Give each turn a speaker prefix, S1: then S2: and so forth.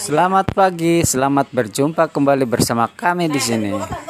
S1: Selamat pagi, selamat berjumpa kembali bersama kami di sini.